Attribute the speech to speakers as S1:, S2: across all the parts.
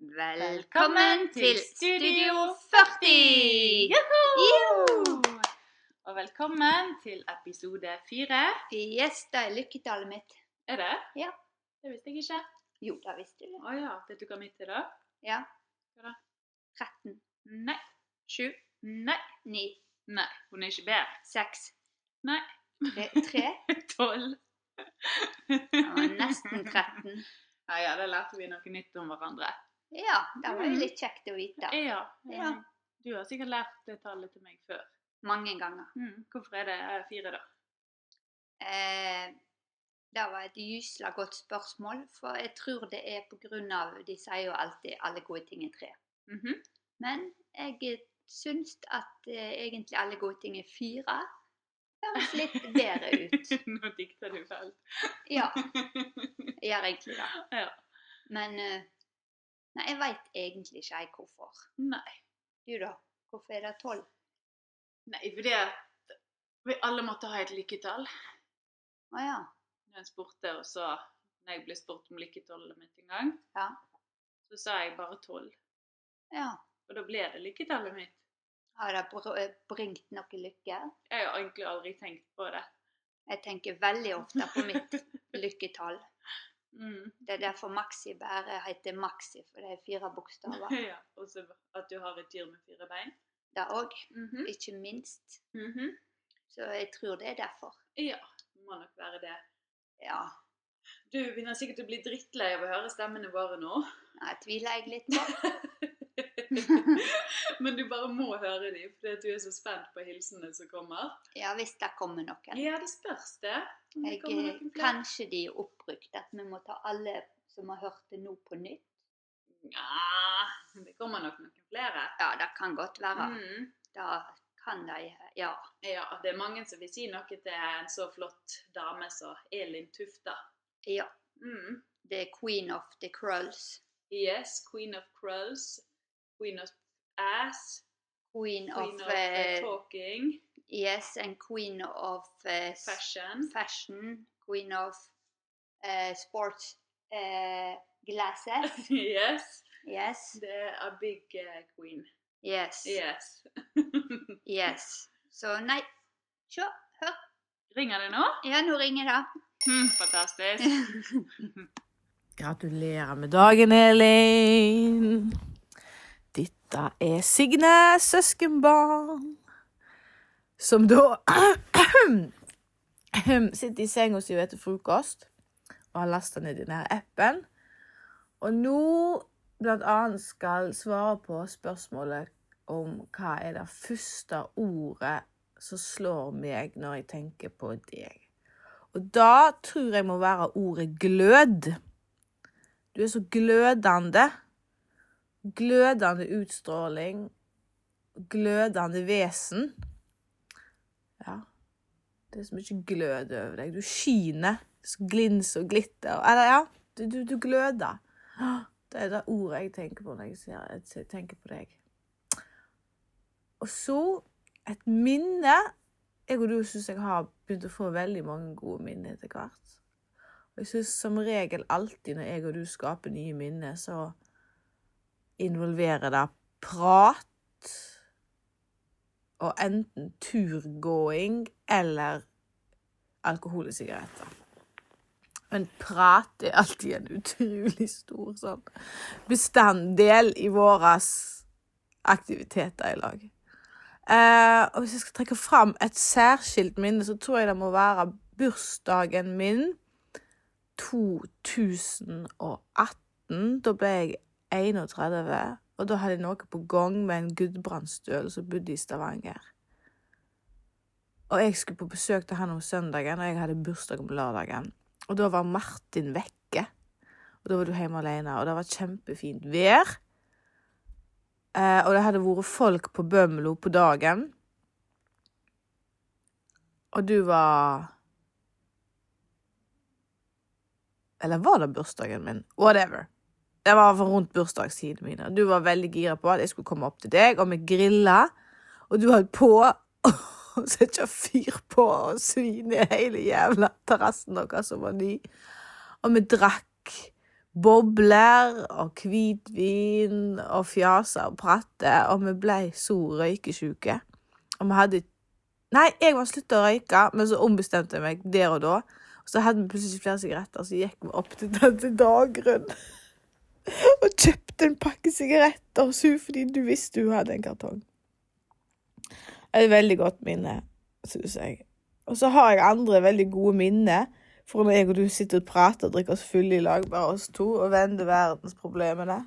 S1: Velkommen til Studio 40!
S2: Joho!
S1: Joho!
S2: Og velkommen til episode fire.
S1: Yes, det er lykketallet mitt.
S2: Er det?
S1: Ja.
S2: Det visste jeg ikke.
S1: Jo, da visste du det.
S2: Å ja. Vet du hva mitt er, da?
S1: Ja.
S2: Hva da?
S1: 13,
S2: Nei.
S1: 7,
S2: Nei.
S1: 9,
S2: Nei. Hun er ikke bedre.
S1: 6
S2: Nei.
S1: 3
S2: Tolv.
S1: Nesten 13.
S2: Ja, ja, da lærte vi noe nytt om hverandre.
S1: Ja, det var
S2: Mhm.
S1: jo litt kjekt å vite.
S2: Ja.
S1: Ja.
S2: Du har sikkert lært det tallet til meg før.
S1: Mange ganger.
S2: Mm. Hvorfor er det eh, fire, da?
S1: Eh, det var et gysla godt spørsmål, for jeg tror det er på grunn av De sier jo alltid 'alle gode ting er tre'.
S2: Mhm.
S1: Men jeg eh, syns at eh, egentlig alle gode ting er fire. Høres litt bedre ut.
S2: Nå dikter du feil.
S1: Ja, jeg gjør egentlig det.
S2: Ja.
S1: Men eh, nei, jeg veit egentlig ikke jeg hvorfor.
S2: Nei.
S1: Du da? Hvorfor er det tolv?
S2: Nei, fordi at vi alle måtte ha et lykketall.
S1: Å ja.
S2: Når jeg spurte, og så når jeg ble spurt om lykketallet mitt en gang,
S1: Ja.
S2: så sa jeg bare tolv.
S1: ja.
S2: Og da ble det lykketallet mitt.
S1: Har det br- bringt noe lykke?
S2: Jeg har egentlig aldri tenkt på det.
S1: Jeg tenker veldig ofte på mitt lykketall.
S2: Mm.
S1: Det er derfor Maxi bare heter Maxi, for det er fire bokstaver.
S2: Ja. Og så at du har et dyr med fire bein.
S1: Det òg,
S2: Mhm.
S1: ikke minst.
S2: Mhm.
S1: Så jeg tror det er derfor.
S2: Ja, det må nok være det.
S1: Ja,
S2: Du begynner sikkert å bli drittlei av å høre stemmene våre nå.
S1: det tviler jeg litt på.
S2: Men du bare må høre dem, fordi at du er så spent på hilsenene som kommer.
S1: Ja, hvis det kommer noen.
S2: Ja, det spørs det. Om det
S1: Jeg,
S2: kommer
S1: eh,
S2: noen flere.
S1: kanskje de er oppbrukt, at vi må ta alle som har hørt det nå, på nytt.
S2: Nja, det kommer nok noen flere.
S1: Ja, det kan godt være.
S2: Mm.
S1: Da kan de Ja.
S2: Ja, det er mange som vil si noe til en så flott dame som Elin Tufta.
S1: ja.
S2: Mm.
S1: The queen of the crulls.
S2: Yes, queen of crows, queen of ass,
S1: Queen,
S2: queen
S1: of,
S2: of eh,
S1: eh,
S2: talking,
S1: Yes, and queen of eh, s-
S2: fashion.
S1: fashion, queen of eh, sports eh, glasses.
S2: Yes,
S1: Yes,
S2: det er a big eh, queen.
S1: yes,
S2: Yes.
S1: yes. Så nei, se, hør.
S2: Ringer det nå?
S1: Ja, nå ringer det.
S2: Mm, fantastisk.
S3: Gratulerer med dagen, Elin. Dette er Signe, søskenbarn, som da sitter i senga si og spiser frokost og har lasta ned i denne appen. Og nå blant annet skal svare på spørsmålet om hva er det første ordet som slår meg når jeg tenker på deg. Og da tror jeg må være ordet glød. Du er så glødende. Glødende utstråling. Glødende vesen. Ja. Det er så mye glød over deg. Du skiner. Så glins og glitter. Eller ja, du, du, du gløder. Åh, Det er det ordet jeg tenker på når jeg, ser, jeg tenker på deg. Og så et minne. Jeg og du syns jeg har begynt å få veldig mange gode minner etter hvert. Og jeg syns som regel alltid når jeg og du skaper nye minner, så involverer det prat og enten turgåing eller alkohol og sigaretter. Men prat er alltid en utrolig stor sånn bestanddel i våre aktiviteter i lag. Eh, og hvis jeg skal trekke fram et særskilt minne, så tror jeg det må være bursdagen min 2018. Da ble jeg 31, og da hadde jeg noe på gang med en gudbrandstøl som bodde i Stavanger. Og jeg skulle på besøk til han om søndagen, og jeg hadde bursdag om lørdagen. Og da var Martin vekke. Og da var du hjemme alene, og det var kjempefint vær. Eh, og det hadde vært folk på Bømlo på dagen. Og du var Eller var det bursdagen min? Whatever. Det var for rundt bursdagstidene mine. Du var veldig gira på at jeg skulle komme opp til deg, og vi grilla. Og du holdt på å sette fyr på og svine hele jævla terrassen deres som var ny. Og vi drakk bobler og hvitvin og fjaser og prater, og vi ble så røykesjuke. Og vi hadde Nei, jeg var slutta å røyke, men så ombestemte jeg meg der og da. Og så hadde vi plutselig ikke flere sigaretter, så gikk vi opp til Tante Dagrun og kjøpte en pakke sigaretter hos hun fordi du visste hun hadde en kartong. Det er et veldig godt minne, syns jeg. Og så har jeg andre veldig gode minner. For når jeg og du sitter og prater og drikker oss fulle i lag, bare oss to, og vender verdensproblemene.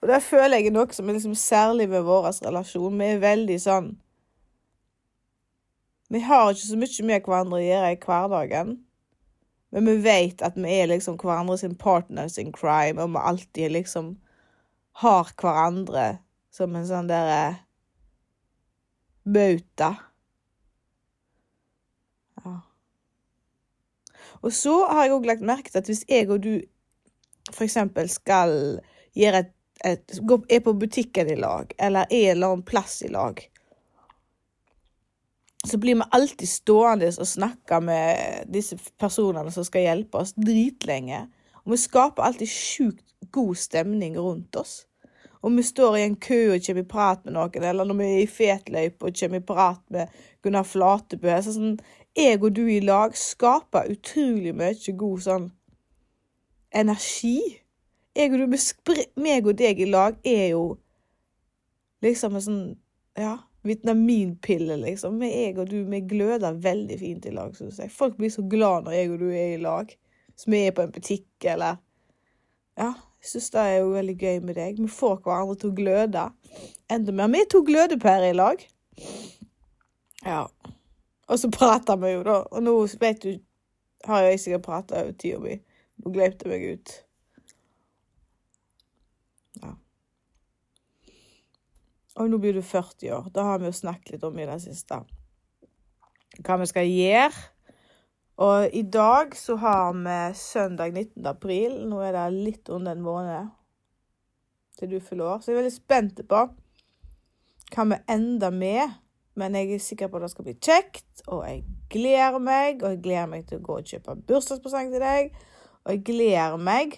S3: Og det føler jeg er noe som er liksom særlig ved vår relasjon. Vi er veldig sånn Vi har ikke så mye med hverandre å gjøre i hverdagen. Men vi vet at vi er liksom hverandre sin partners in crime, og vi alltid liksom har hverandre som en sånn derre bauta. Ja. Og så har jeg òg lagt merke til at hvis jeg og du f.eks. skal gjøre et, et, gå- er på butikken i lag, eller er en eller annen plass i lag, så blir vi alltid stående og snakke med disse personene som skal hjelpe oss, dritlenge. Og vi skaper alltid sjukt god stemning rundt oss. Om vi står i en kø og kommer i prat med noen, eller når vi er i fetløype og kommer i prat med Gunnar Flatebø så sånn, Jeg og du i lag skaper utrolig mye god sånn energi. Jeg og du, vi spre- meg og deg i lag er jo liksom en sånn ja, vitaminpille, liksom. Vi, jeg og du, vi gløder veldig fint i lag, syns jeg. Folk blir så glad når jeg og du er i lag. Så vi er på en butikk eller ja, jeg syns det er jo veldig gøy med deg. Vi får hverandre til å gløde. Enda mer. Vi er to glødepærer i lag. Ja. Og så prater vi jo, da. Og nå vet du har jeg sikkert prata over tida mi. Nå gløp det meg ut. Ja. Og nå blir du 40 år. Det har vi jo snakket litt om i det siste. Hva vi skal gjøre. Og i dag så har vi søndag 19. april. Nå er det litt under en måned til du fyller år. Så jeg er veldig spent på hva vi ender med. Men jeg er sikker på at det skal bli kjekt, og jeg gleder meg. Og jeg gleder meg til å gå og kjøpe bursdagspresang til deg. Og jeg gleder meg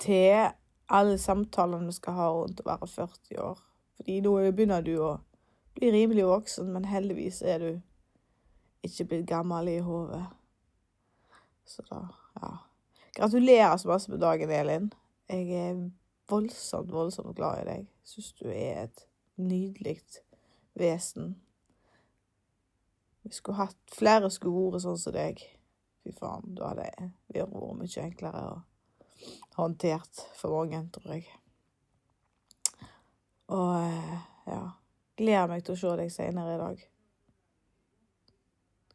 S3: til alle samtalene vi skal ha rundt å være 40 år. Fordi nå begynner du å bli rimelig voksen, men heldigvis er du ikke blitt gammel i hodet. Så da, ja. Gratulerer så masse med dagen, Elin. Jeg er voldsomt, voldsomt glad i deg. Syns du er et nydelig vesen. Vi skulle hatt flere skulle vært sånn som deg. Fy faen, da hadde vi vært mye enklere og håndtert for mange, tror jeg. Og eh, ja. Gleder meg til å se deg senere i dag.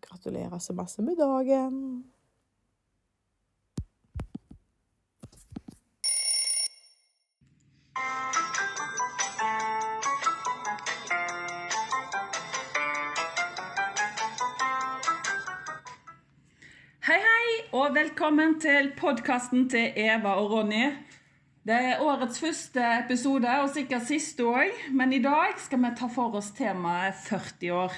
S3: Gratulerer så masse med dagen.
S4: Hei, hei, og velkommen til podkasten til Eva og Ronny. Det er årets første episode, og sikkert siste òg, men i dag skal vi ta for oss temaet 40 år.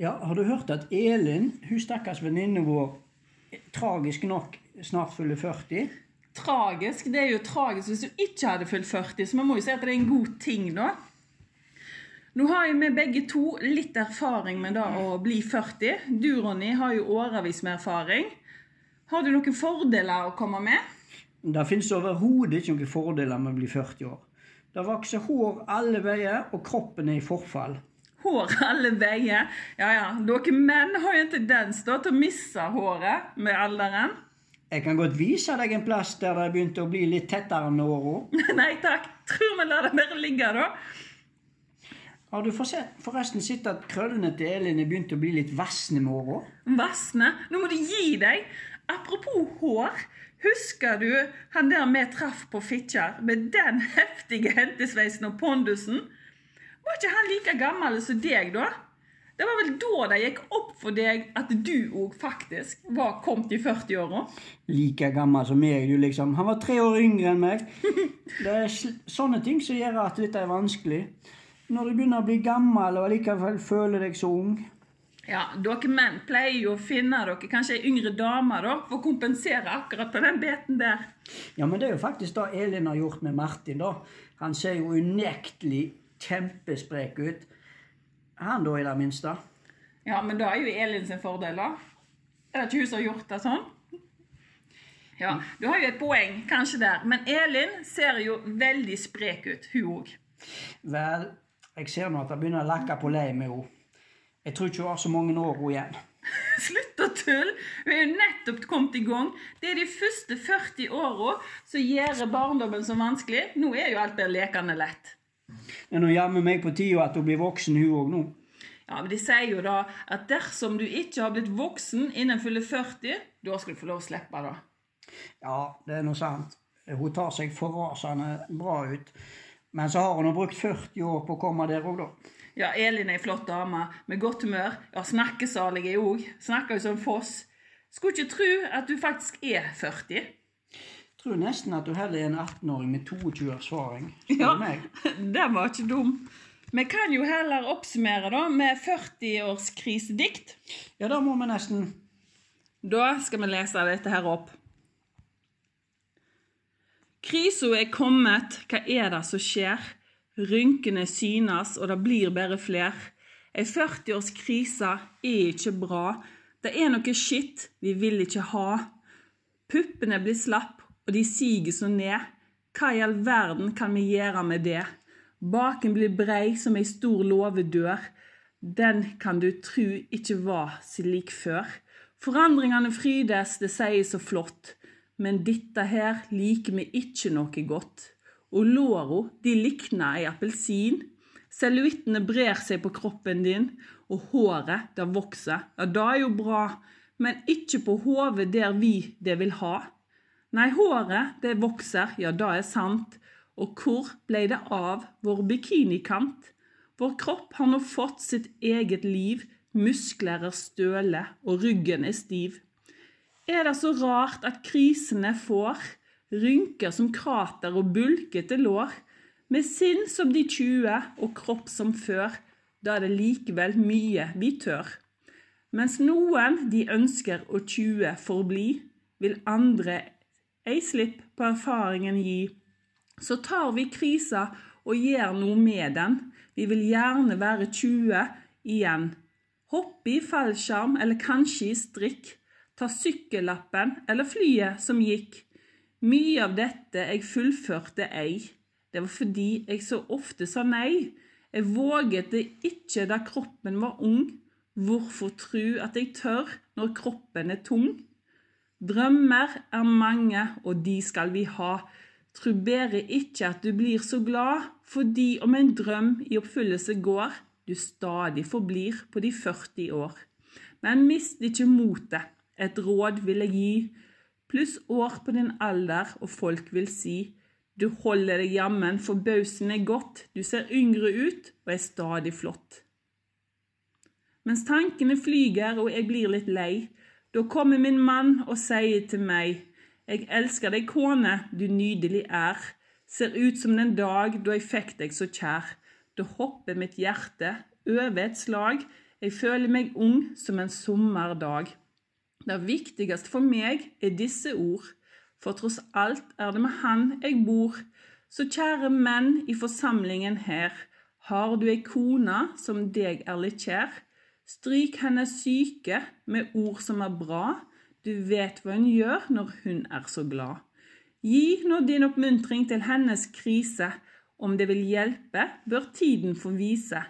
S5: Ja, har du hørt at Elin, hun stakkars venninne vår, tragisk nok snart fyller 40?
S4: Tragisk. Det er jo tragisk hvis du ikke hadde fylt 40, så vi må jo si at det er en god ting, da. Nå har jo vi begge to litt erfaring med det å bli 40. Du, Ronny, har jo årevis med erfaring. Har du noen fordeler å komme med?
S5: Det fins overhodet ikke noen fordeler med å bli 40 år. Det vokser hår alle veier, og kroppen er i forfall.
S4: Hår alle veier. Ja, ja. Dere menn har jo en tendens da til å miste håret med alderen.
S5: Jeg kan godt vise deg en plass der det begynte å bli litt tettere med åra.
S4: Nei takk. Tror vi lar det bare ligge, da.
S5: Har du forse- forresten sett at krøllene til Elin er begynt å bli litt vassne med åra?
S4: Vassne. Nå må du gi deg. Apropos hår. Husker du han der vi traff på Fitjar med den heftige hentesveisen og pondusen? Var ikke han like gammel som deg da? Det var vel da det gikk opp for deg at du òg faktisk var kommet i 40-åra?
S5: Like gammel som meg, du liksom. Han var tre år yngre enn meg. Det er sl- sånne ting som gjør at dette er vanskelig. Når du begynner å bli gammel og allikevel føler deg så ung.
S4: Ja, dere menn pleier jo å finne dere kanskje ei yngre dame da, for å kompensere akkurat på den biten der.
S5: Ja, men det er jo faktisk det Elin har gjort med Martin, da. Han ser jo unektelig kjempesprek ut. Han, da, i det minste.
S4: Ja, men da er jo Elin sin fordel, da. Er det ikke hun som har gjort det sånn? Ja, du har jo et poeng, kanskje der. Men Elin ser jo veldig sprek ut, hun òg.
S5: Vel, jeg ser nå at det begynner å lakke på lei med henne. Jeg tror ikke hun har så mange år hun igjen.
S4: Slutt å tulle! Hun er jo nettopp kommet i gang. Det er de første 40 åra som gjør barndommen så vanskelig. Nå er jo alt bare lekende lett.
S5: Men hun jammer meg på tida at hun blir voksen, hun òg nå.
S4: Ja, men De sier jo da at dersom du ikke har blitt voksen innen fyller 40, da skal du få lov å slippe, da.
S5: Ja, det er nå sant. Hun tar seg forrasende bra ut. Men så har hun nå brukt 40 år på å komme der òg, da.
S4: Ja, Elin er ei flott dame med godt humør. Ja, snakkesalig er hun òg. Snakker jo som foss. Skulle ikke tro at du faktisk er 40.
S5: Tror nesten at hun heller er en 18-åring med 22 års erfaring. spør
S4: Ja.
S5: du meg.
S4: Den var ikke dum. Vi kan jo heller oppsummere da med 40-årskrisedikt.
S5: Ja, da må vi nesten
S4: Da skal vi lese dette her opp. Krisa er kommet, hva er det som skjer? Rynkene synes, og det blir bare fler. Ei 40-års krise er ikke bra. Det er noe skitt vi vil ikke ha. Puppene blir slapp, og de siger så ned. Hva i all verden kan vi gjøre med det? Baken blir brei som ei stor låvedør. Den kan du tru ikke var slik før. Forandringene frydes, det sies så flott. Men dette her liker vi ikke noe godt. Og låra, de likner ei appelsin. Celluittene brer seg på kroppen din, og håret, det vokser. Ja, det er jo bra, men ikke på hodet der vi det vil ha. Nei, håret, det vokser, ja, det er sant. Og hvor ble det av vår bikinikant? Vår kropp har nå fått sitt eget liv, muskler er støle, og ryggen er stiv. Er det så rart at krisene får rynker som krater og bulkete lår? Med sinn som de 20 og kropp som før, da er det likevel mye vi tør. Mens noen de ønsker å 20 forbli, vil andre ei slipp på erfaringen gi. Så tar vi krisa og gjør noe med den. Vi vil gjerne være 20 igjen. Hoppe i fallskjerm eller kanskje i strikk. Ta sykkellappen eller flyet som gikk. Mye av dette jeg fullførte ei. Det var fordi jeg så ofte sa nei. Jeg våget det ikke da kroppen var ung. Hvorfor tru at jeg tør når kroppen er tung? Drømmer er mange, og de skal vi ha. Tru bedre ikke at du blir så glad, fordi om en drøm i oppfyllelse går, du stadig forblir på de 40 år. Men mist ikke motet. Et råd vil jeg gi. Pluss år på din alder, og folk vil si. Du holder deg jammen forbausende godt, du ser yngre ut og er stadig flott. Mens tankene flyger og jeg blir litt lei, da kommer min mann og sier til meg, jeg elsker deg, kone, du nydelig er, ser ut som den dag da jeg fikk deg så kjær. Da hopper mitt hjerte over et slag, jeg føler meg ung som en sommerdag. Det viktigste for meg er disse ord, for tross alt er det med han jeg bor. Så kjære menn i forsamlingen her, har du ei kone som deg er litt kjær? Stryk hennes syke med ord som er bra, du vet hva hun gjør når hun er så glad. Gi nå din oppmuntring til hennes krise, om det vil hjelpe, bør tiden få vise.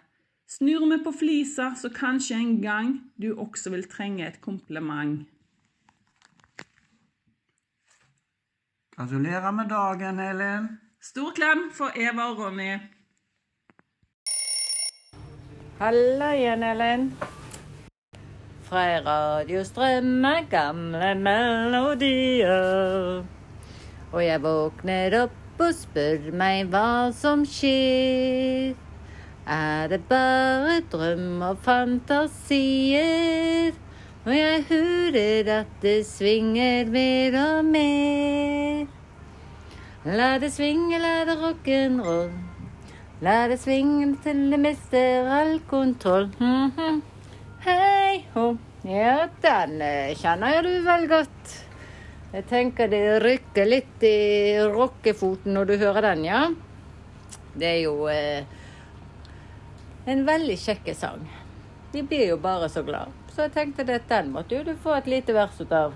S4: Snur vi på flisa, så kanskje en gang du også vil trenge et kompliment.
S5: Gratulerer med dagen, Elin.
S4: Stor klem for Eva og Ronny.
S6: Halla igjen, Elin. Fra radio strømmer gamle melodier. Og jeg våkner opp og spør meg hva som skjer. Er det bare drøm og fantasier når jeg hører at det svinger mer og mer? La det svinge, la det rock'n'roll. La det svinge til det mister all kontroll. Mhm. Hei, hei ho. Ja, den eh, kjenner jo du vel godt. Jeg tenker det rykker litt i rockefoten når du hører den, ja. Det er jo eh, en veldig kjekk sang. Vi blir jo bare så glad. Så jeg tenkte at den måtte jo du få et lite vers ut av.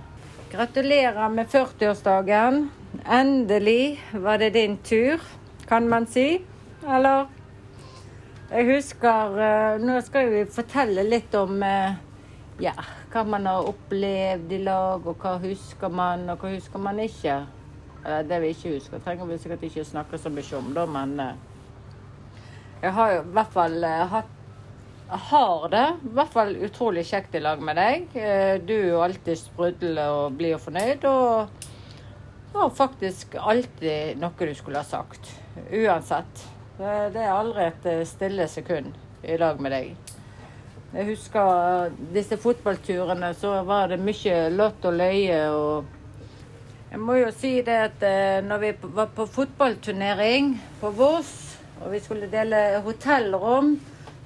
S6: Gratulerer med 40-årsdagen. Endelig var det din tur, kan man si. Eller? Jeg husker eh, Nå skal vi fortelle litt om eh, ja, hva man har opplevd i lag, og hva husker man, og hva husker man ikke. Eh, Det vi ikke husker, trenger vi sikkert ikke snakke så mye om, da, men eh, jeg har jo i hvert fall eh, hatt jeg har det. I hvert fall utrolig kjekt i lag med deg. Eh, Du er jo alltid sprudlende og blid og fornøyd. Og har faktisk alltid noe du skulle ha sagt. Uansett. Det det er aldri et eh, stille sekund i lag med deg. Jeg husker disse fotballturene, så var det mye lott og løye og jeg må jo si det at eh, når vi p- var på fotballturnering på Voss, og vi skulle dele hotellrom,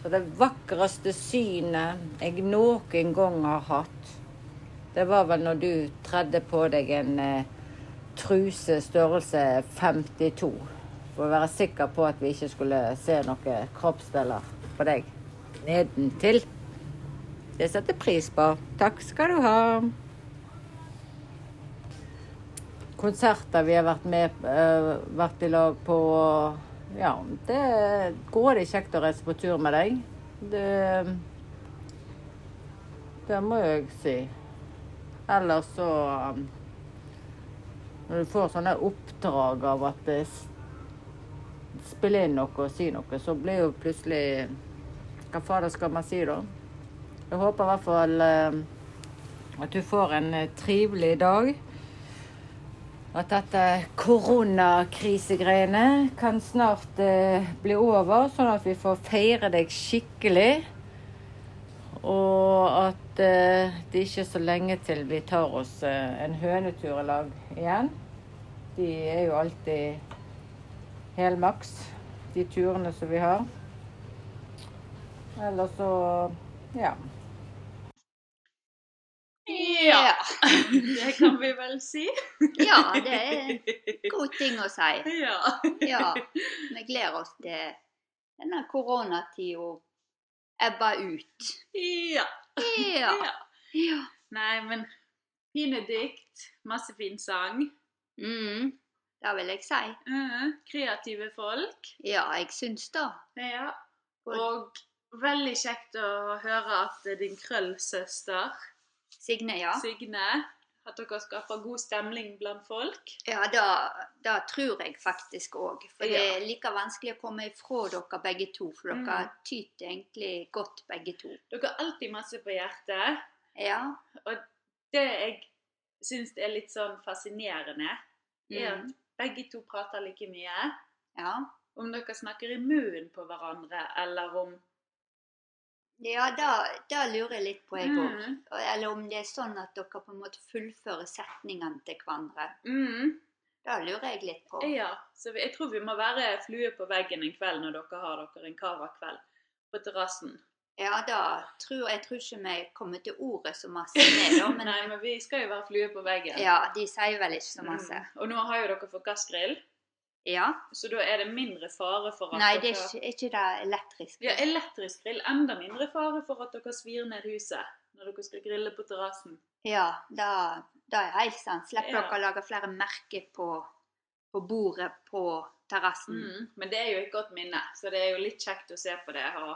S6: så det vakreste synet jeg noen gang har hatt, det var vel når du tredde på deg en eh, truse størrelse 52. For å være sikker på at vi ikke skulle se noen kroppsdeler på deg nedentil. Det setter jeg pris på. Takk skal du ha konserter vi har vært med eh, vært i lag på. Ja, det går det kjekt å reise på tur med deg. Det, det må jeg si. Ellers så um, Når du får sånne oppdrag av at det s- spiller inn noe og si noe, så blir jo plutselig Hva fader skal man si da? Jeg håper i hvert fall eh, at du får en eh, trivelig dag at dette koronakrisegreiene kan snart eh, bli over, sånn at vi får feire deg skikkelig. Og at eh, det ikke er så lenge til vi tar oss eh, en hønetur i lag igjen. De er jo alltid helmaks, de turene som vi har. Ellers så ja.
S2: Ja, det kan vi vel si.
S1: ja, det er en god ting å si.
S2: Ja.
S1: Ja, vi gleder oss til denne koronatida ebber ut.
S2: ja.
S1: Ja.
S2: Ja.
S1: ja.
S2: Nei, men fine dikt, masse fin sang.
S1: Mm, det vil jeg si.
S2: Mhm, kreative folk.
S1: Ja, jeg syns det.
S2: Ja.
S1: Og
S2: Og veldig kjekt å høre at din krøllsøster,
S1: Signe, ja.
S2: Signe, at dere skaper god stemning blant folk.
S1: Ja, det, det tror jeg faktisk òg. For det
S2: Ja. Mm.
S1: er like vanskelig å komme ifra dere begge to. For dere tyter egentlig godt, begge to.
S2: Dere har alltid masse på hjertet.
S1: Ja.
S2: Det jeg syns er litt sånn fascinerende, er at
S1: Mm.
S2: begge to prater like mye.
S1: ja.
S2: Om dere snakker i munnen på hverandre, eller om
S1: Ja, det- det lurer jeg litt på, jeg òg.
S2: Mm.
S1: Eller om det er sånn at dere på en måte fullfører setningene til hverandre.
S2: mm,
S1: Det lurer jeg litt på.
S2: Ja. Så vi- jeg tror vi må være flue på veggen en kveld når dere har dere en cava-kveld på terrassen.
S1: Ja, da tror jeg tror ikke vi kommer til ordet så masse med, da. Men
S2: Nei, men vi skal jo være flue på veggen.
S1: ja, de sier vel ikke så masse.
S2: Mm. Og nå har jo dere fått gassgrill,
S1: Ja.
S2: så da er det mindre fare for at
S1: Nei, det er
S2: dere
S1: ikke, er ikke det elektrisk.
S2: Ja, elektrisk grill. Enda mindre fare for at dere svir ned huset når dere skal grille på terrassen.
S1: Ja, da, da er helt sant. Slipper
S2: Ja.
S1: dere å lage flere merker på, på bordet på terrassen.
S2: Mm. Men det er jo et godt minne, så det er jo litt kjekt å se på det og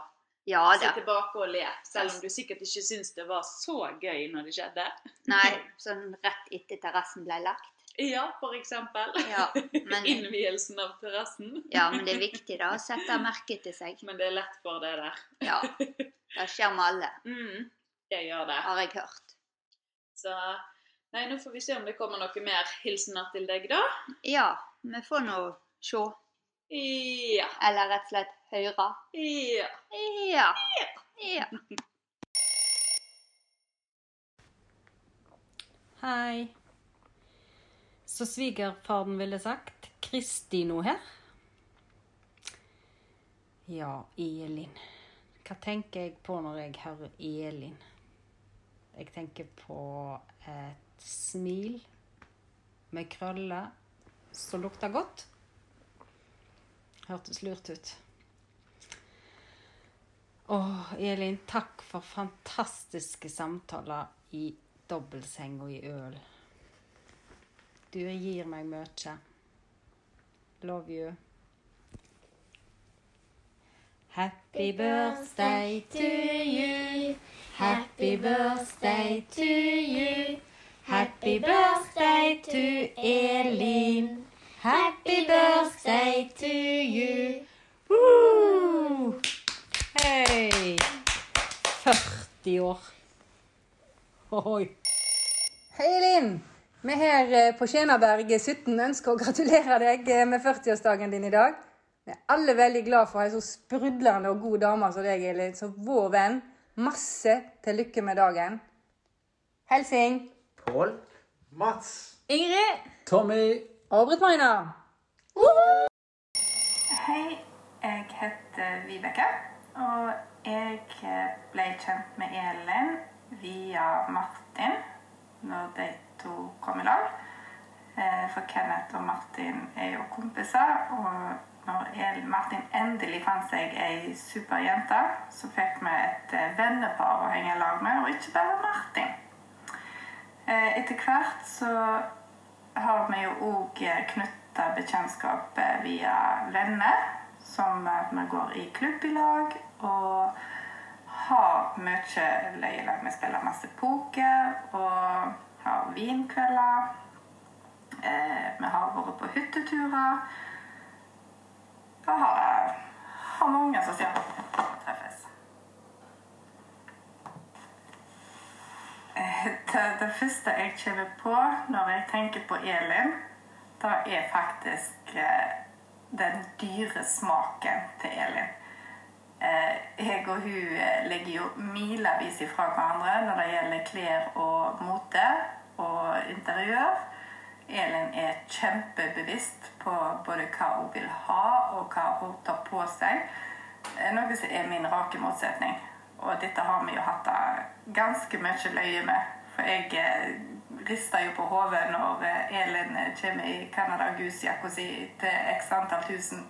S1: Ja
S2: se
S1: da.
S2: tilbake og le. Selv om du sikkert ikke syns det var så gøy når det skjedde.
S1: Nei, sånn rett etter terrassen ble lagt.
S2: Ja, for eksempel.
S1: Ja, men,
S2: Innvielsen av terrassen.
S1: ja, men det er viktig da å sette merke til seg.
S2: Men det er lett for det der.
S1: Ja, det skjer med alle,
S2: Mm. Det gjør det.
S1: har jeg hørt.
S2: Så Nei, nå får vi se om det kommer noe mer hilsener til deg, da.
S1: Ja, vi får nå se,
S2: Ja.
S1: eller rett og slett høre.
S2: Ja.
S1: Ja. ja.
S7: Hei. Så svigerfaren ville sagt Kristino her. Ja, Elin. Hva tenker jeg på når jeg hører Elin? Jeg tenker på et smil med krøller som lukter godt. Hørtes lurt ut. Å, Elin, takk for fantastiske samtaler i dobbeltseng og i øl. Du gir meg mye. Love you. Happy birthday to you. Happy birthday to you. Happy birthday to Elin. Happy birthday to you. Woo! Hei! 40 år. Oi.
S8: Hei, Elin. Vi her eh, på Skjenaberg 17 ønsker å gratulere deg eh, med 40-årsdagen din i dag. Vi er alle veldig glad for ei så sprudlende og god dame som deg, Elin, som vår venn. Masse til lykke med dagen. Helsing
S9: Pål. Mats.
S8: Ingrid
S5: Tommy
S8: og Britt Maina.
S10: Hei, jeg heter Vibeke, og jeg ble kjent med Elin via Martin når de to kom i lag. Eh, For Kenneth og Martin er jo kompiser, og når El- Martin endelig fant seg ei superjente, så fikk vi et eh, vennepar å henge i lag med, og ikke bare Martin. Eh, Etter hvert så har vi jo òg knytta bekjentskap eh, via venner, som at vi går i klubb i lag og har mye løye i lag. Vi spiller masse poker og har vinkvelder. Eh, Vi har vært på hytteturer. Og har, har mange sosiale treffes. Eh, Det, det første jeg kommer på når jeg tenker på Elin, det er faktisk eh, den dyre smaken til Elin. Eh, jeg og hun eh, ligger jo milevis ifra hverandre når det gjelder klær og mote og interiør. Elin er kjempebevisst på både hva hun vil ha og hva hun tar på seg. Eh, Noe som er min rake motsetning. Og dette har vi jo hatt eh, ganske mye løye med. For jeg eh, rister jo på hodet når eh, Elin eh, kommer i Canada Goose-jakka si til x antall tusen,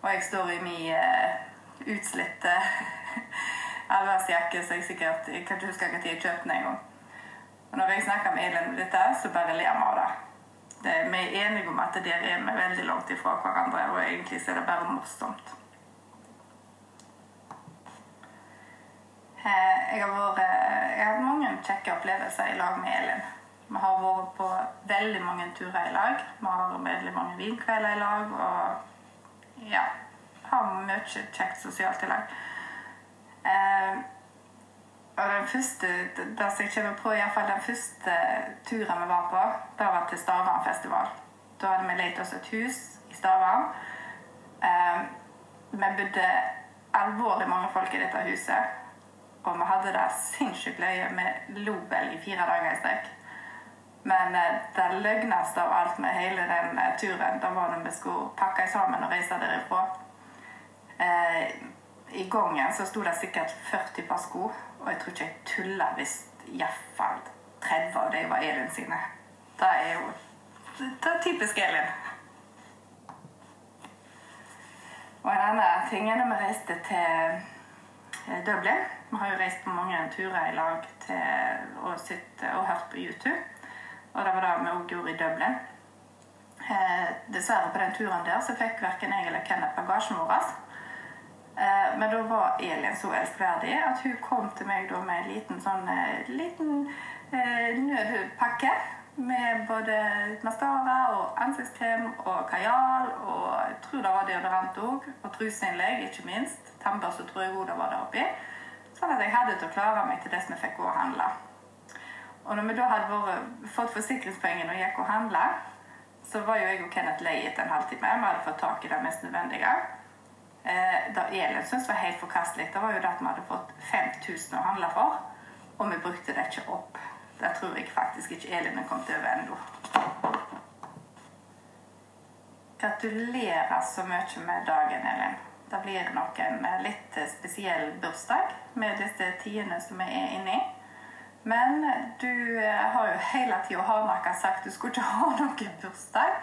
S10: og jeg står i min eh, utslitte allværsjakke, så jeg sikkert jeg kan ikke huske når jeg kjøpte den engang. Og når jeg snakker med Elin om dette, så bare ler vi av det. det. Vi er enige om at der er vi veldig langt ifra hverandre, og egentlig så er det bare morsomt. Eh, Jeg har, vært, eh, jeg har hatt mange kjekke opplevelser i lag med Elin. Vi har vært på veldig mange turer i lag. Vi har veldig mange vinkvelder i lag. Og ja, har mye kjekt sosialt i lag. Eh, og den første, det det som jeg kommer på, i hvert fall den første turen vi var på, det var til Stavernfestival. Da hadde vi leid oss et hus i Stavern. Eh, vi bodde alvorlig mange folk i dette huset. Og vi hadde det sinnssykt løye med Lobel i fire dager i strekk. Men eh, det løgneste av alt med hele den eh, turen, det var når vi skulle pakke sammen og reise derifra. Eh, I gangen så sto det sikkert 40 par sko, og jeg tror ikke jeg tulla hvis iallfall 30 av de var Elin sine. Det er jo det er typisk Elin. Og en annen ting er når vi reiste til eh, Dublin. Vi har jo reist på mange turer i lag til, og, sitt, og hørt på YouTube. Og det var det vi òg gjorde i Dublin. Eh, dessverre på den turen der så fikk verken jeg eller Kenneth bagasjen vår. Eh, men da var Elin så elskverdig at hun kom til meg da med en liten sånn eh, liten eh, nødpakke. Med både maskara og ansiktskrem og kajal og jeg tror det var deodorant òg. Og truseinnlegg, ikke minst. Tannbørste tror jeg òg det var der oppi. Sånn at jeg hadde til å klare meg til det som jeg fikk gå og handle. Og når vi da hadde vært, fått forsikringspengene og gikk og handla, så var jo jeg og Kenneth lei etter en halvtime. Vi hadde fått tak i det mest nødvendige. Eh, det Elin syntes var helt forkastelig, det var jo det at vi hadde fått 5000 å handle for, og vi brukte det ikke opp. Det tror jeg faktisk ikke Elin har kommet over ennå. Gratulerer så mye med dagen, Elin. Det blir nok en eh, litt eh, spesiell bursdag med disse tidene som vi er inne i. Men du eh, har jo hele tida hardnakka sagt du skulle ikke ha noen bursdag.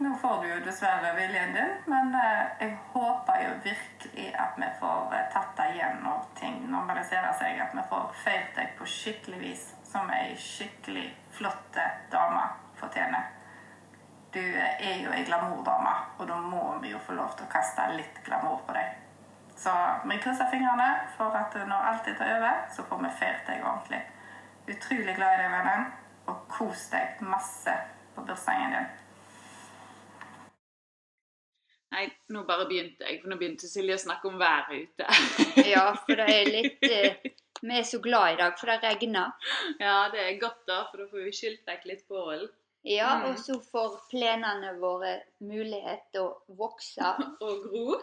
S10: Nå får du jo dessverre viljen din, men eh, jeg håper jo virkelig at vi får eh, tatt deg igjen når ting normaliserer seg. At vi får feiret deg på skikkelig vis, som ei skikkelig flott dame fortjener. Du eh, er jo ei glamourdame, og da må vi jo få lov til å kaste litt glamour på deg. Så vi krysser fingrene for at når alt dette er over, så får vi feiret deg ordentlig. Utrolig glad i deg, vennen, og kos deg masse på bursdagen din.
S2: Nei, nå bare begynte jeg, for nå begynte Silje å snakke om været ute.
S1: Ja, for det er litt eh, Vi er så glad i dag, for det regner.
S2: Ja, det er godt da, for da får vi skylt vekk litt pollen.
S1: Ja,
S2: Mm.
S1: og så får plenene våre mulighet til å vokse,
S2: Og gro,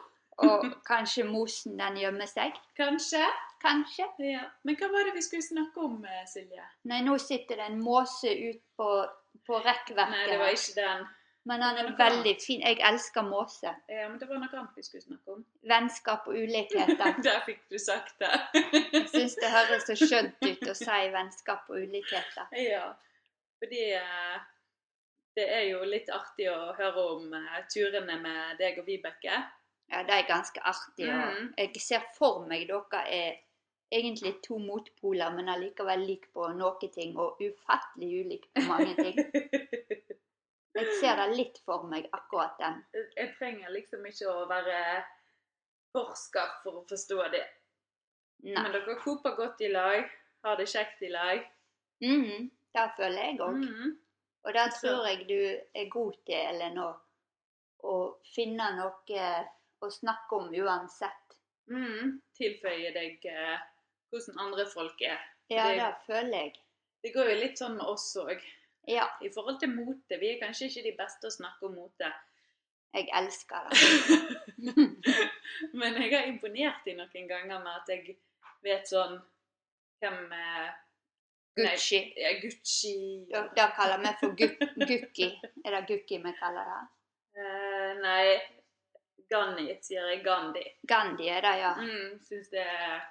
S1: og kanskje mosen den gjemmer seg.
S2: kanskje.
S1: Kanskje.
S2: Ja. Men hva var det vi skulle snakke om, eh, Silje?
S1: Nei, nå sitter det en måse ut på, på
S2: Nei, det
S1: rekkverket.
S2: var
S1: her.
S2: ikke den.
S1: Men han er
S2: noe
S1: veldig fin. Jeg elsker måse.
S2: Ja, men det var noe annet vi skulle snakke om.
S1: Vennskap og ulikheter.
S2: Der fikk du sagt det.
S1: Jeg syns det høres så skjønt ut å si vennskap og ulikheter.
S2: Ja, fordi eh, det er jo litt artig å høre om eh, turene med deg og Vibeke.
S1: Ja, det er ganske artig.
S2: Mm.
S1: Og jeg ser for meg dere er egentlig to motpoler, men allikevel lik på noen ting, og ufattelig ulik på mange ting.
S2: Mhm.
S1: Jeg ser det litt for meg, akkurat den.
S2: Jeg trenger liksom ikke å være forsker for å forstå det.
S1: Nei.
S2: Men dere koper godt i lag, har det kjekt i lag.
S1: Mhm, det føler jeg òg.
S2: Mhm.
S1: Og der
S2: Så-
S1: tror jeg du er god til, Ellen, å, å finne noe eh, å snakke om uansett.
S2: Mhm. Tilføye deg eh, hvordan andre folk er.
S1: Ja,
S2: Det-
S1: det føler jeg.
S2: Det går jo litt sånn med oss òg.
S1: Ja,
S2: I forhold til mote, vi er kanskje ikke de beste å snakke om mote.
S1: jeg elsker det.
S2: Men jeg har imponert dem noen ganger med at jeg vet sånn hvem eh, nei,
S1: Gucci.
S2: ja, Gucci.
S1: Ja, Det kaller vi for gu- Gucci. Er det Gucci vi kaller det?
S2: Eh, nei, Gandhi, sier jeg. Gandhi.
S1: Gandhi er det, ja.
S2: Mm, Syns det er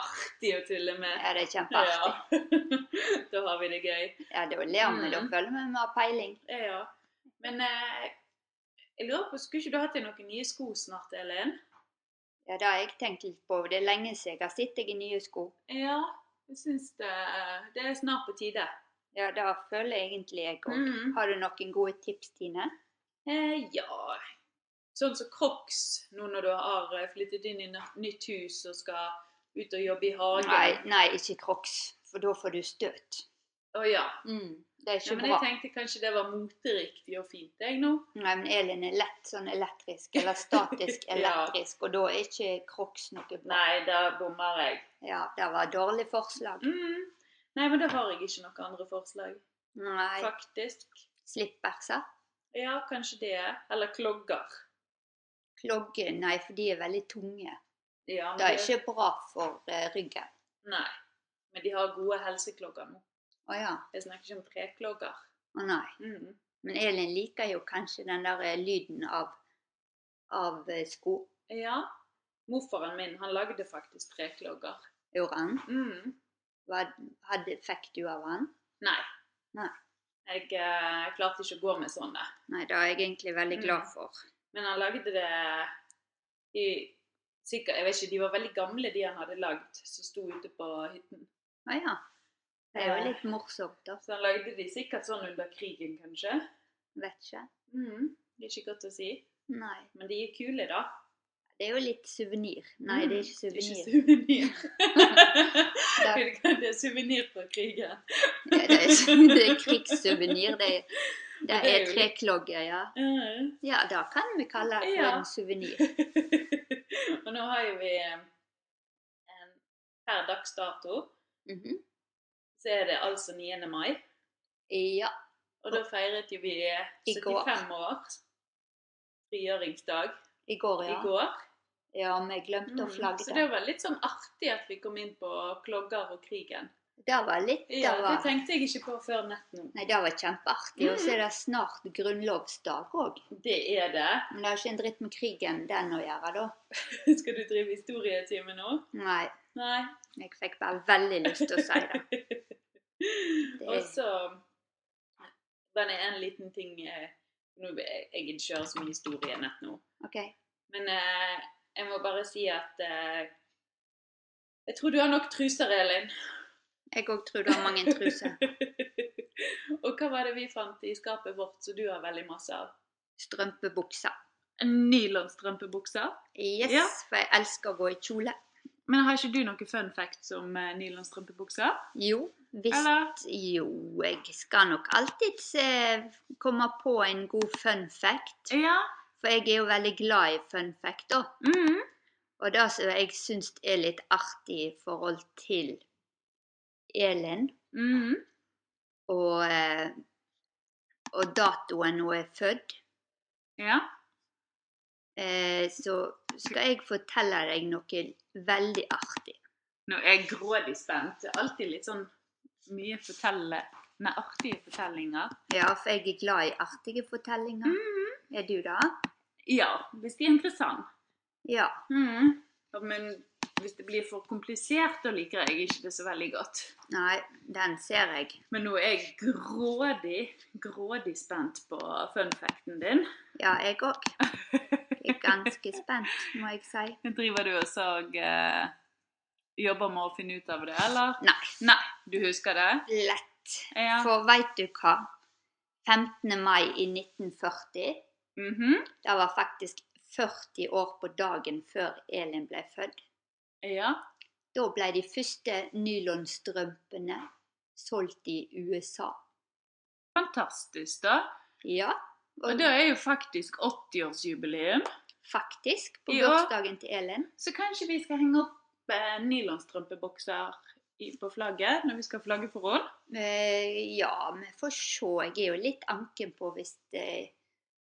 S2: artig å tulle med.
S1: Er det kjempeartig?
S2: da har vi det gøy.
S1: Ja, da ler vi. Da
S2: Mm.
S1: føler vi vi har peiling.
S2: Eh, Ja. Men eh, jeg lurer på, skulle ikke du hatt deg noen nye sko snart, Elin?
S1: Ja, det har jeg tenkt litt på. Det er lenge siden jeg har sett deg i nye sko.
S2: Ja, jeg syns det, det er snart på tide.
S1: Ja, det føler jeg egentlig jeg òg.
S2: Mm.
S1: Har du noen gode tips, Tine?
S2: Eh, ja Sånn som Crocs, nå når du har eh, flyttet inn i n- nytt hus og skal ut og jobbe i hagen.
S1: Nei, nei ikke Crocs, for da får du støt.
S2: Å ja.
S1: Mm. Det er
S2: ja.
S1: ikke
S2: Men
S1: bra.
S2: jeg tenkte kanskje det var moteriktig og fint, jeg nå.
S1: Nei, men Elin er lett sånn elektrisk, eller statisk
S2: Ja.
S1: elektrisk, og da er ikke Crocs noe bra.
S2: Nei, da bommer jeg.
S1: Ja, det var et dårlig forslag.
S2: Mm. Nei, men da har jeg ikke noen andre forslag,
S1: Nei,
S2: faktisk.
S1: slipperser.
S2: Ja, kanskje det. Eller klogger.
S1: Klogge, nei, for de er veldig tunge.
S2: Ja, men
S1: Det er ikke bra for eh, ryggen.
S2: Nei. Men de har gode helseklogger nå.
S1: Å ja,
S2: Jeg snakker ikke om treklogger.
S1: å nei.
S2: Mm.
S1: Men Elin liker jo kanskje den der eh, lyden av, av eh, sko.
S2: Ja. Morfaren min, han lagde faktisk treklogger.
S1: Gjorde han?
S2: Mm.
S1: Hva hadde, fikk du av han?
S2: Nei.
S1: Nei.
S2: Jeg eh, klarte ikke å gå med sånne.
S1: Nei, det er jeg egentlig veldig glad for.
S2: Men han lagde det i sikkert, Jeg vet ikke, de var veldig gamle, de han hadde lagd, som sto ute på hytten.
S1: Å ja. Det er jo litt morsomt, da.
S2: Så han lagde de sikkert sånn under krigen, kanskje.
S1: Vet ikke.
S2: Mm. Det er ikke godt å si.
S1: Nei.
S2: Men de er kule, da.
S1: Det er jo litt suvenir. Nei, det er ikke
S2: Mm. Det er ikke
S1: suvenir.
S2: suvenir.
S1: Det er-
S2: det er suvenir fra krigen.
S1: Ja, det er, ikke- det er krigssuvenir. Det, er- det
S2: Det er
S1: er
S2: jo litt-
S1: treklogger, ja.
S2: Mm.
S1: Ja, det kan vi kalle det for
S2: Ja.
S1: en suvenir.
S2: Og nå har jo vi eh, en- per dags dato
S1: Mhm.
S2: så er det altså 9. mai.
S1: Ja.
S2: Og da feiret jo vi
S1: I går.
S2: 75 år. Frigjøringsdag
S1: I går,
S2: i
S1: ja.
S2: går.
S1: Ja, vi glemte å
S2: Mm, Så
S1: flagge.
S2: det var litt sånn artig at vi kom inn på klogger og krigen.
S1: Det var litt det
S2: Ja, Det
S1: var,
S2: tenkte jeg ikke på før nett nå.
S1: Nei, det var kjempeartig. Og så er det snart grunnlovsdag òg.
S2: Det er det.
S1: Men det har ikke en dritt med krigen den å gjøre, da.
S2: Skal du drive historietime nå?
S1: Nei.
S2: Nei.
S1: Jeg fikk bare veldig lyst til å si det. Det
S2: Og
S1: er,
S2: så Bare en liten ting eh, nå, Jeg jeg gidder ikke høre så mye historie nett nå.
S1: ok,
S2: Men eh, jeg må bare si at eh, Jeg tror du har nok truser, Elin.
S1: jeg òg tror du har mange truser.
S2: Og hva var det vi fant i skapet vårt som du har veldig masse av?
S1: Strømpebukser.
S2: En nylonstrømpebukse.
S1: Yes,
S2: Ja.
S1: for jeg elsker å gå i kjole.
S2: Men har ikke du noe fun fact om eh, nylonstrømpebukser?
S1: Jo, visst
S2: Eller?
S1: Jo, jeg skal nok alltid eh, komme på en god fun fact.
S2: Ja.
S1: For jeg er jo veldig glad i fun fact, da.
S2: Mm.
S1: Og det som jeg syns er litt artig i forhold til Elin,
S2: Mm.
S1: og, eh, og datoen hun er født,
S2: Ja.
S1: eh, så skal jeg fortelle deg noe veldig artig.
S2: Nå er jeg grådig spent. Det er alltid litt sånn mye fortelle... Nei, artige fortellinger.
S1: Ja, for jeg er glad i artige fortellinger. Er du det?
S2: Ja, hvis de er interessante.
S1: Ja.
S2: Mm. Ja, Men hvis det blir for komplisert, da liker jeg ikke det så veldig godt.
S1: Nei, den ser jeg.
S2: Men nå er jeg grådig, grådig spent på funfacten din.
S1: Ja, jeg òg. Jeg er ganske spent, må jeg si.
S2: Driver du og så eh, jobber med å finne ut av det, eller?
S1: Nei,
S2: Nei, du husker det?
S1: lett.
S2: Ja.
S1: For veit du hva? 15. mai i 1940
S2: Mhm.
S1: Det var faktisk 40 år på dagen før Elin ble født.
S2: Ja.
S1: Da ble de første nylonstrømpene solgt i USA.
S2: Fantastisk, da.
S1: Ja,
S2: Og det er jo faktisk 80-årsjubileum.
S1: faktisk. På
S2: Ja.
S1: bursdagen til Elin.
S2: Så kanskje vi skal henge opp eh, nylonstrømpebokser i- på flagget når vi skal flagge for henne?
S1: Eh, ja, vi får se. Jeg er jo litt anken på hvis eh,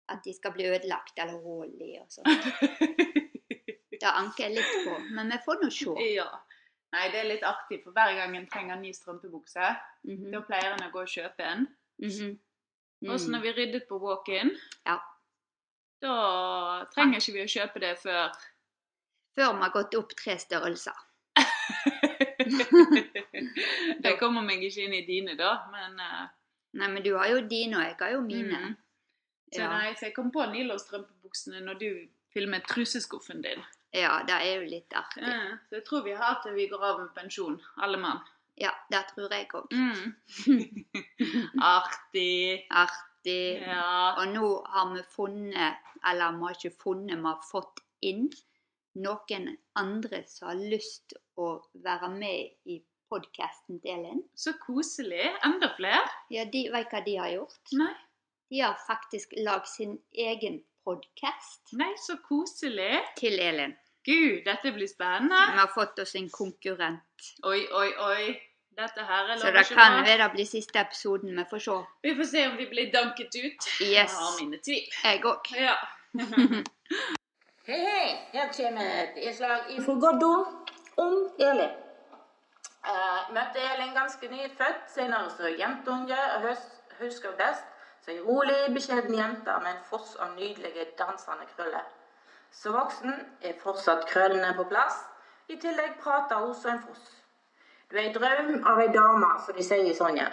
S1: at de skal bli ødelagt eller hull i og sånn. Det anker jeg litt på, men vi får nå se.
S2: Ja. Nei, det er litt artig, for hver gang en trenger en ny strømpebukse,
S1: Mhm,
S2: da pleier en å gå og kjøpe en.
S1: mhm.
S2: Og så når vi ryddet på walk-in,
S1: Ja.
S2: da trenger ikke vi å kjøpe det før
S1: Før vi har gått opp tre størrelser.
S2: Det kommer meg ikke inn i dine, da, men eh,
S1: Nei, men du har jo dine, og jeg har jo mine.
S2: mm. Så
S1: Ja.
S2: nei, så jeg kom på nylonstrømpebuksene når du filmet truseskuffen din.
S1: Ja, det er jo litt artig.
S2: Ja, Så jeg tror vi har til vi går av med pensjon, alle mann.
S1: Ja, det tror jeg òg.
S2: Mm. Artig.
S1: Artig.
S2: Ja.
S1: Og nå har vi funnet, eller vi har ikke funnet, vi har fått inn noen andre som har lyst å være med i podkasten til Elin.
S2: Så koselig. Enda flere.
S1: Ja, de vet hva de har gjort.
S2: Nei.
S1: De har faktisk lagd sin egen podkast
S2: Nei, så koselig.
S1: til Elin.
S2: Gud, dette blir spennende.
S1: Vi har fått oss en konkurrent.
S2: Oi, oi, oi. Dette her er
S1: Så det kan være det blir siste episoden. Vi får se.
S2: Vi får se om vi blir danket ut. Jeg
S1: Yes.
S2: har mine tvil.
S1: Jeg òg.
S2: Ja.
S11: Hei, hei! Her kommer et innslag fra Gordon om Elin. Eh, møtte Elin ganske nyfødt, senere så jentunge, og hus- husker best som ei rolig, beskjeden jente med en foss av nydelige, dansende krøller. Som voksen er fortsatt krøllene på plass, i tillegg prater hun som en foss. Du er ei drøm av ei dame, som de sier i Sonja.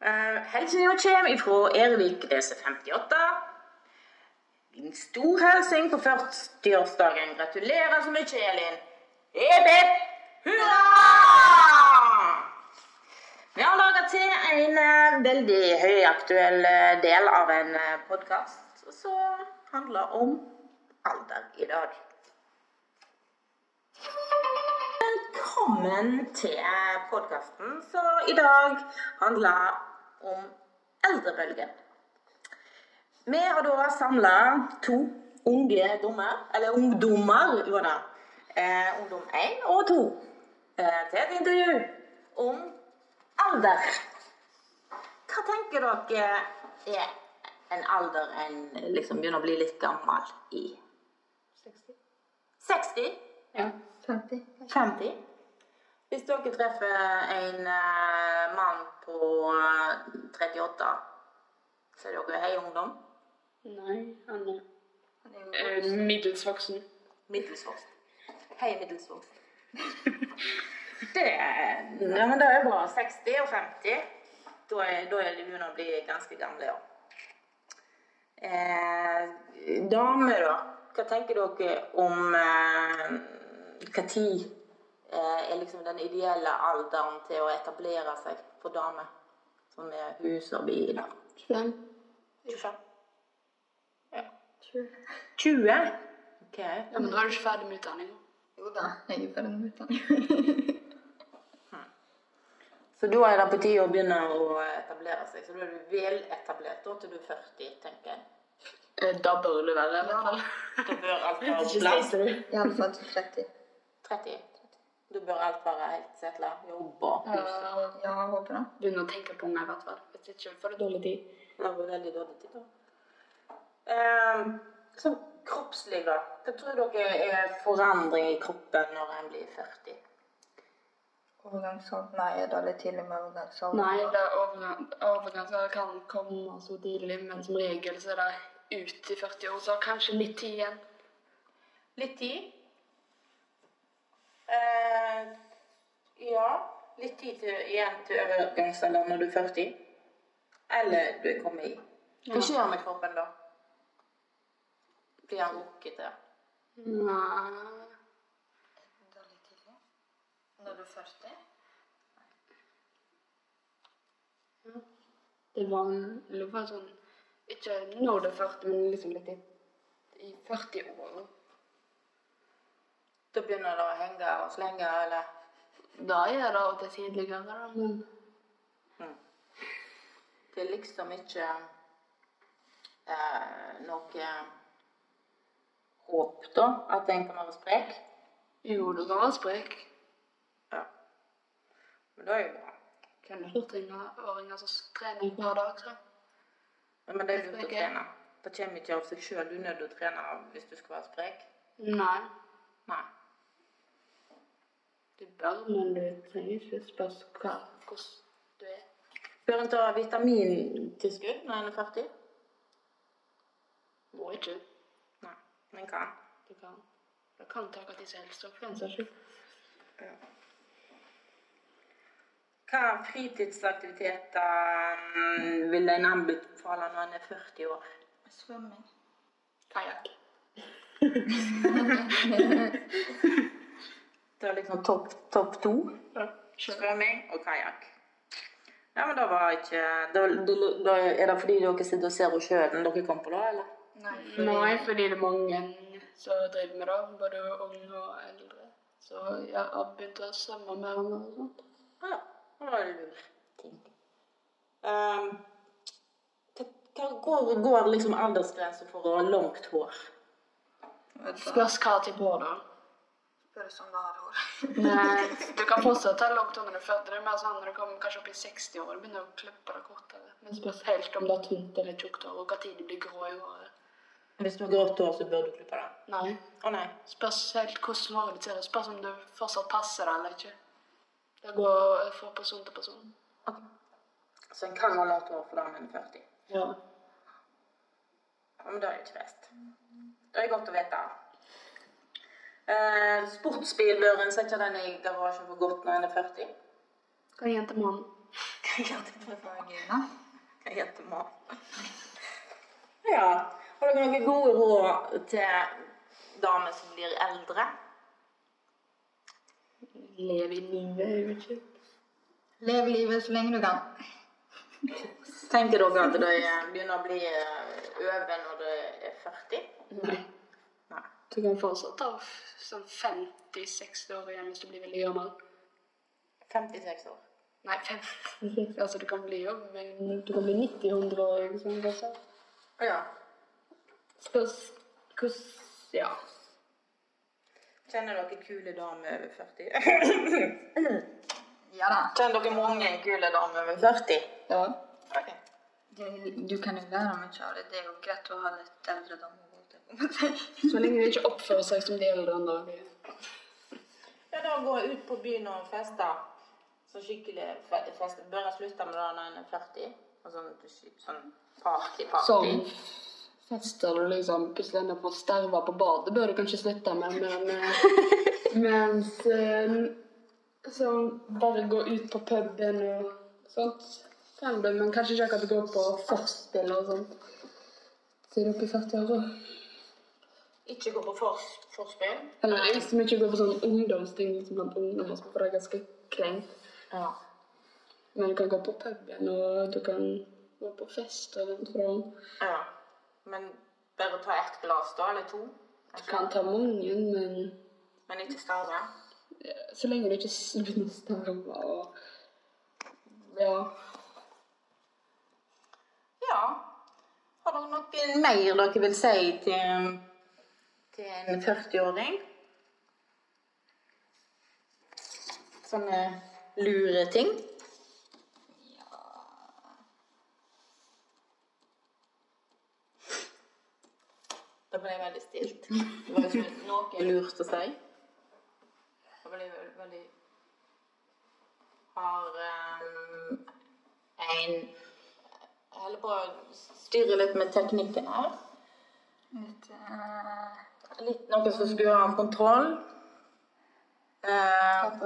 S11: Eh, Hilsenen kommer ifra Erevik DC58. En stor hilsen på 40-årsdagen. Gratulerer så mye, Elin. Hipp, hipp hurra! Vi har laga til en eh, veldig høyaktuell eh, del av en podkast som handler om alder i dag. Velkommen til podkasten som i dag handler om eldrebølgen. Vi har da samla to ungdommer, eller ungdommer, var det. Eh, ungdom én og to eh, til et intervju om alder. Hva tenker dere er en alder en liksom begynner å bli litt gammel i? 60. 60? Ja. 50. 50? Hvis dere treffer en eh, mann på eh, 38, så er dere hei ungdom?
S1: Eh,
S11: middels voksen. Hei, middels voksen. Det er, ja, men det er bra. 60 og 50. Da er, da er de begynner å bli ganske gamle, ja. Eh, damer, da. Hva tenker dere om eh, hva tid eh, er liksom den ideelle alderen til å etablere seg for damer? Som er hus og bil. og-
S12: 25.
S11: 25.
S12: 20.
S11: 20? Ok.
S12: Ja, men da er du ikke ferdig med utdanninga. Jo da, jeg er ferdig med utdanninga.
S11: Så da er det på tide å begynne å etablere seg. Så da er du vel etablert da til du er 40, tenker jeg.
S12: Da bør du være i hvert fall.
S11: Da bør alt være
S12: Ikke
S11: på plass.
S12: spiser du. I alle fall til 30.
S11: 30. Da bør alt være helt settla. Jobb og
S12: Ja, ja, jeg håper det. Begynne å tenke på unger i hvert fall. Hvis ikke får du dårlig tid.
S11: Det var veldig dårlig tid, da. Ehm, sånn kroppslig, da. Hva tror dere er forandring i kroppen når en blir 40?
S12: Overgangsalder? Nei, det er litt tidlig med overgangsalder. Nei, det er overgang, overgangsalder kan komme så tidlig, men som regel så er det ut i 40 år, så kanskje litt tid igjen.
S11: Litt tid? Eh, ja. Litt tid til, igjen til overgangsalderen når du er 40. Eller du er kommet i. Hva skjer med kroppen da? Blir han rukkete?
S12: Nei. Enda litt tidlig? Når du er 40? Ja. Mm. Det var det var sånn Ikke når du er 40, men liksom litt i, i 40-åra.
S11: Da begynner det å henge og slenge, eller?
S12: Da er det av og til tidligere, da, men
S11: Det er liksom ikke eh, noe håp, da, at en kan være sprek.
S12: Jo, du kan være sprek.
S11: Men det er jo bra.
S12: Kan du hurtigåringer som trener hver dag, så?
S11: Men det er lurt å trene. Det kommer ikke av seg sjøl. Du er nødt til å trene hvis du skal være sprek.
S12: Nei.
S11: Nei.
S12: Du bør, men du trenger ikke spørs hva, hvordan du er.
S11: Bør en ta vitamintilskudd når en er 40?
S12: Må ikke.
S11: Nei, men kan.
S12: Du kan. Du kan ta hva til selv, så for den saks skyld.
S11: Hva fritidsaktiviteter mm, vil en anbefale når en er 40 år?
S12: Svømming. Kajakk.
S11: Det er liksom topp topp to. Svømming og kajakk. Ja, men da var ikke Da, da- da er det fordi dere sitter og ser på sjøen dere kom på da, eller?
S12: Nei, Nei, fordi det er mange som driver med det, både unge og eldre. Så jeg har begynt å svømme mer og mer og sånt.
S11: Ja, det var en lur ting. Ehm, hva- hva går, går liksom aldersgrensen for å ha langt hår?
S12: Spørs hva type hår du har.
S11: Spørs om du har hår.
S12: Nei, du kan fortsatt ta langt hår når du er født. Det er mer sånn når du kommer kanskje opp i 60-åra, begynner du å klippe det kortere. Men spørs helt om det er tynt eller tjukt hår, og hva tid det blir grå i håret.
S11: Hvis du har grått hår, så bør du klippe det.
S12: Nei.
S11: Å nei.
S12: Spørs helt hvordan håret ditt ser ut. Spørs om du fortsatt passer det eller ikke. Det går fra person til person.
S11: Så en kan ha langt hår for da man er 40.
S12: Ja.
S11: Ja, Men det er jo ikke best. Det er godt å vite. Eh, sportsbil bør en sette den i garasjen for godt når en er 40.
S12: Hva gjør til mannen?
S11: Hva heter man? Ja. Har dere noen gode råd til damer som blir eldre?
S12: Lev i livet, jeg vet ikke.
S11: Lev livet så lenge du kan. Tenker dere at det begynner å bli eh, over når det er 40?
S12: Nei. Du kan fortsatt ta f- sånn 50-60 år igjen hvis du blir veldig gammel.
S11: 56 år.
S12: Nei, 56 Altså, du kan bli jo, men du kan bli 90-100 år, liksom. Kanskje.
S11: Ja.
S12: Spørs hvordan Ja.
S11: Kjenner dere kule damer over 40? ja da. Kjenner dere mange kule damer over 40?
S12: Ja.
S11: Du kan jo lære mye av det. Det er jo greit å ha litt eldre damer.
S12: Så lenge de ikke oppfører seg som de eldre enn dag.
S11: Ja, da går jeg ut på byen og fester. Så skikkelig fe- fest. Bør jeg slutte med det når en er 40? Og sånn, sånn party, party.
S12: Sånn. Fester du liksom plutselig ender på å sterve på badet, bør du kanskje slutte med. Men, eh, mens eh, som bare går ut på puben og sånt. Fandom, men kanskje ikke akkurat går på forspill og sånt. Så er det oppe i 40-åra.
S11: Ikke gå på fors forspill.
S12: Eller jeg som ikke går på sånn ungdomsting liksom blant ungdommer, så for det er ganske kleint.
S11: Ja.
S12: Men du kan gå på puben, og du kan gå på fest og sånt fra
S11: ja. Men bare ta ett glass, da, eller to?
S12: Du kan ta mange, men
S11: Men ikke større?
S12: så lenge du ikke s- begynner å starve og Ja.
S11: Ja. Har dere noe mer dere vil si til, til en 40-åring? Sånne lure ting? Da ble jeg veldig stilt. Det var ikke noe lurt å si. Da ble jeg veldig, veldig Har eh, en Jeg holder på å styre litt med teknikken her. Litt, eh, litt noe som skulle ha kontroll. Eh,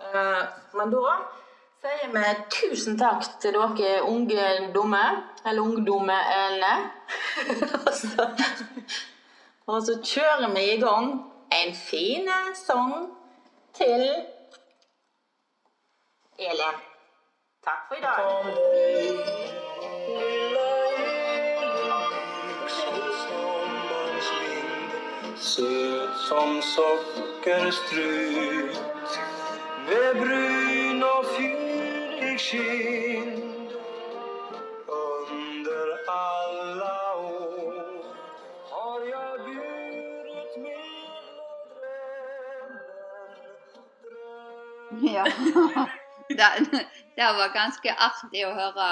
S11: Eh, Men da sier vi tusen takk til dere ungdomme, eller ungdommene. Og så- Og så kjører vi i gang en fin sang til Elin. Takk for i dag.
S13: Søt som sokkerstrut ved brun og fyldig skinn. Under alle år har jeg buret mine
S1: Ja. Det, det var ganske artig å høre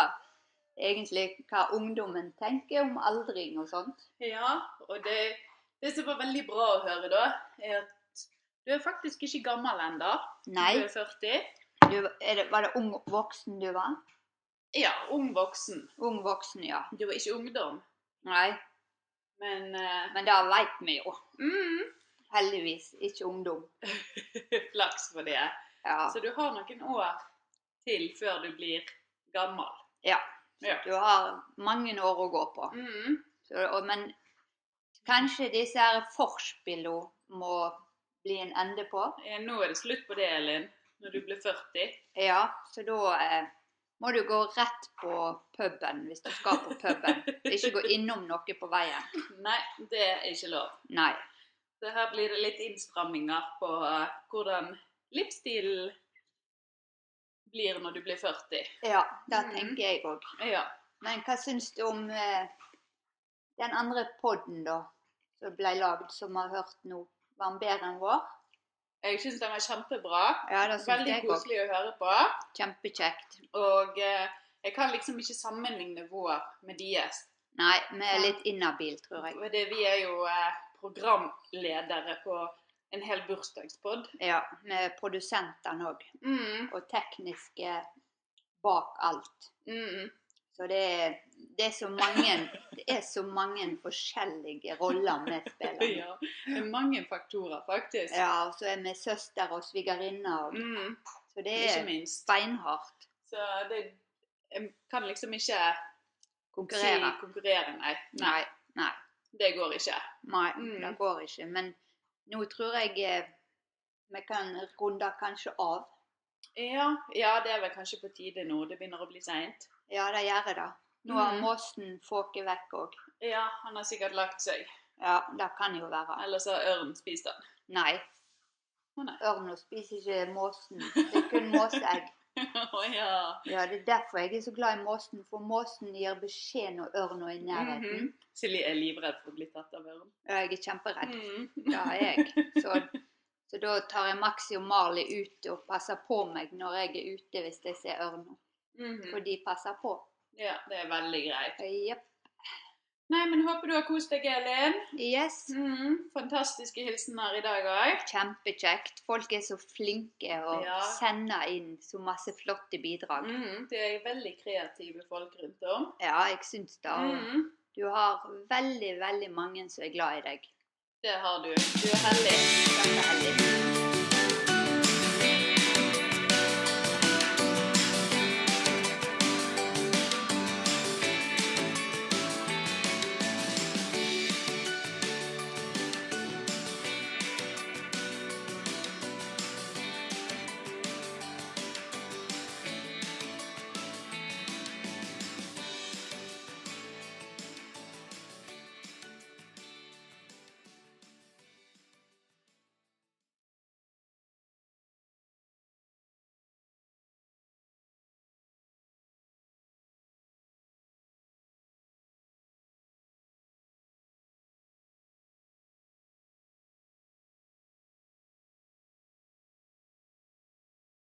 S1: egentlig hva ungdommen tenker om aldring og sånt.
S2: Ja, og det, det som var veldig bra å høre, da, er at du er faktisk ikke gammel ennå.
S1: Nei.
S2: Du er 40.
S1: Du, er det, var det ung voksen du var?
S2: Ja, ung voksen.
S1: Ung voksen, ja.
S2: Du var ikke ungdom.
S1: Nei.
S2: Men, eh,
S1: Men det veit vi jo.
S2: mm,
S1: Heldigvis ikke ungdom.
S2: flaks for det.
S1: Ja.
S2: Så du har noen år til før du blir gammel.
S1: Ja.
S2: Ja.
S1: Du har mange år å gå på. Så, og, men kanskje disse her forspillene må bli en ende på.
S2: Eh, Nå er det slutt på det, Elin. Når du blir 40.
S1: Ja, så da eh, må du gå rett på puben hvis du skal på puben. Ikke gå innom noe på veien.
S2: Nei, det er ikke lov.
S1: Nei.
S2: Så her blir det litt innstramminger på eh, hvordan livsstilen blir når du blir 40.
S1: Ja, det tenker jeg òg.
S2: Ja.
S1: Men hva syns du om eh, den andre podden, da? Som ble lagd, som vi har hørt nå. Var den bedre enn vår?
S2: Jeg syns den var kjempebra.
S1: Ja, det synes
S2: Veldig
S1: jeg også.
S2: koselig å høre på.
S1: Kjempekjekt.
S2: Og eh, jeg kan liksom ikke sammenligne vår med deres.
S1: Nei, vi er litt inhabile, tror jeg.
S2: For det, vi er jo eh, programledere på en hel bursdagspod.
S1: Ja, med produsentene òg.
S2: Mm.
S1: Og tekniske bak alt.
S2: Mm.
S1: Så det er, det er så mange Det er så mange forskjellige roller vi spiller.
S2: Ja, det er mange faktorer, faktisk.
S1: Ja, og så er vi søster og svigerinne og
S2: Mm.
S1: Så det
S2: Ikke
S1: er beinhardt.
S2: Så det jeg kan liksom ikke
S1: Konkurrere.
S2: Si konkurrere, nei.
S1: Nei. Nei.
S2: Det går ikke.
S1: Nei,
S2: Mm.
S1: det går ikke. Men nå tror jeg eh, vi kan runde kanskje av.
S2: Ja, ja, det er vel kanskje på tide nå. Det begynner å bli seint.
S1: Ja, det gjør det. Nå har
S2: Mm.
S1: måsen fåket vekk òg.
S2: Ja, han har sikkert lagt seg.
S1: Ja, det kan jo være.
S2: Ellers har ørnen spist han.
S1: Nei. Ørna spiser ikke måsen. Det er kun måseegg.
S2: Å ja.
S1: Ja, det er derfor jeg er så glad i måsen, for måsen gir beskjed når ørna er i nærheten.
S2: Mhm. Silje er livredd for å bli tatt av Mhm. ørnen.
S1: Ja, jeg er kjemperedd.
S2: Mm.
S1: Det er jeg. Så, så da tar jeg Maxi og Marley ut og passer på meg når jeg er ute hvis jeg ser ørna.
S2: Mhm.
S1: For de passer på.
S2: Ja, det er veldig greit.
S1: Jepp.
S2: Nei, men håper du har kost deg, Elin.
S1: Yes.
S2: Mhm. Fantastiske hilsener i dag òg.
S1: Kjempekjekt. Folk er så flinke og
S2: Ja.
S1: sender inn så masse flotte bidrag.
S2: Mhm. Det er veldig kreative folk rundt om.
S1: Ja, jeg syns det. Og
S2: Mhm.
S1: Du har veldig, veldig mange som er glad i deg. Det har du. Du er heldig. Du er heldig.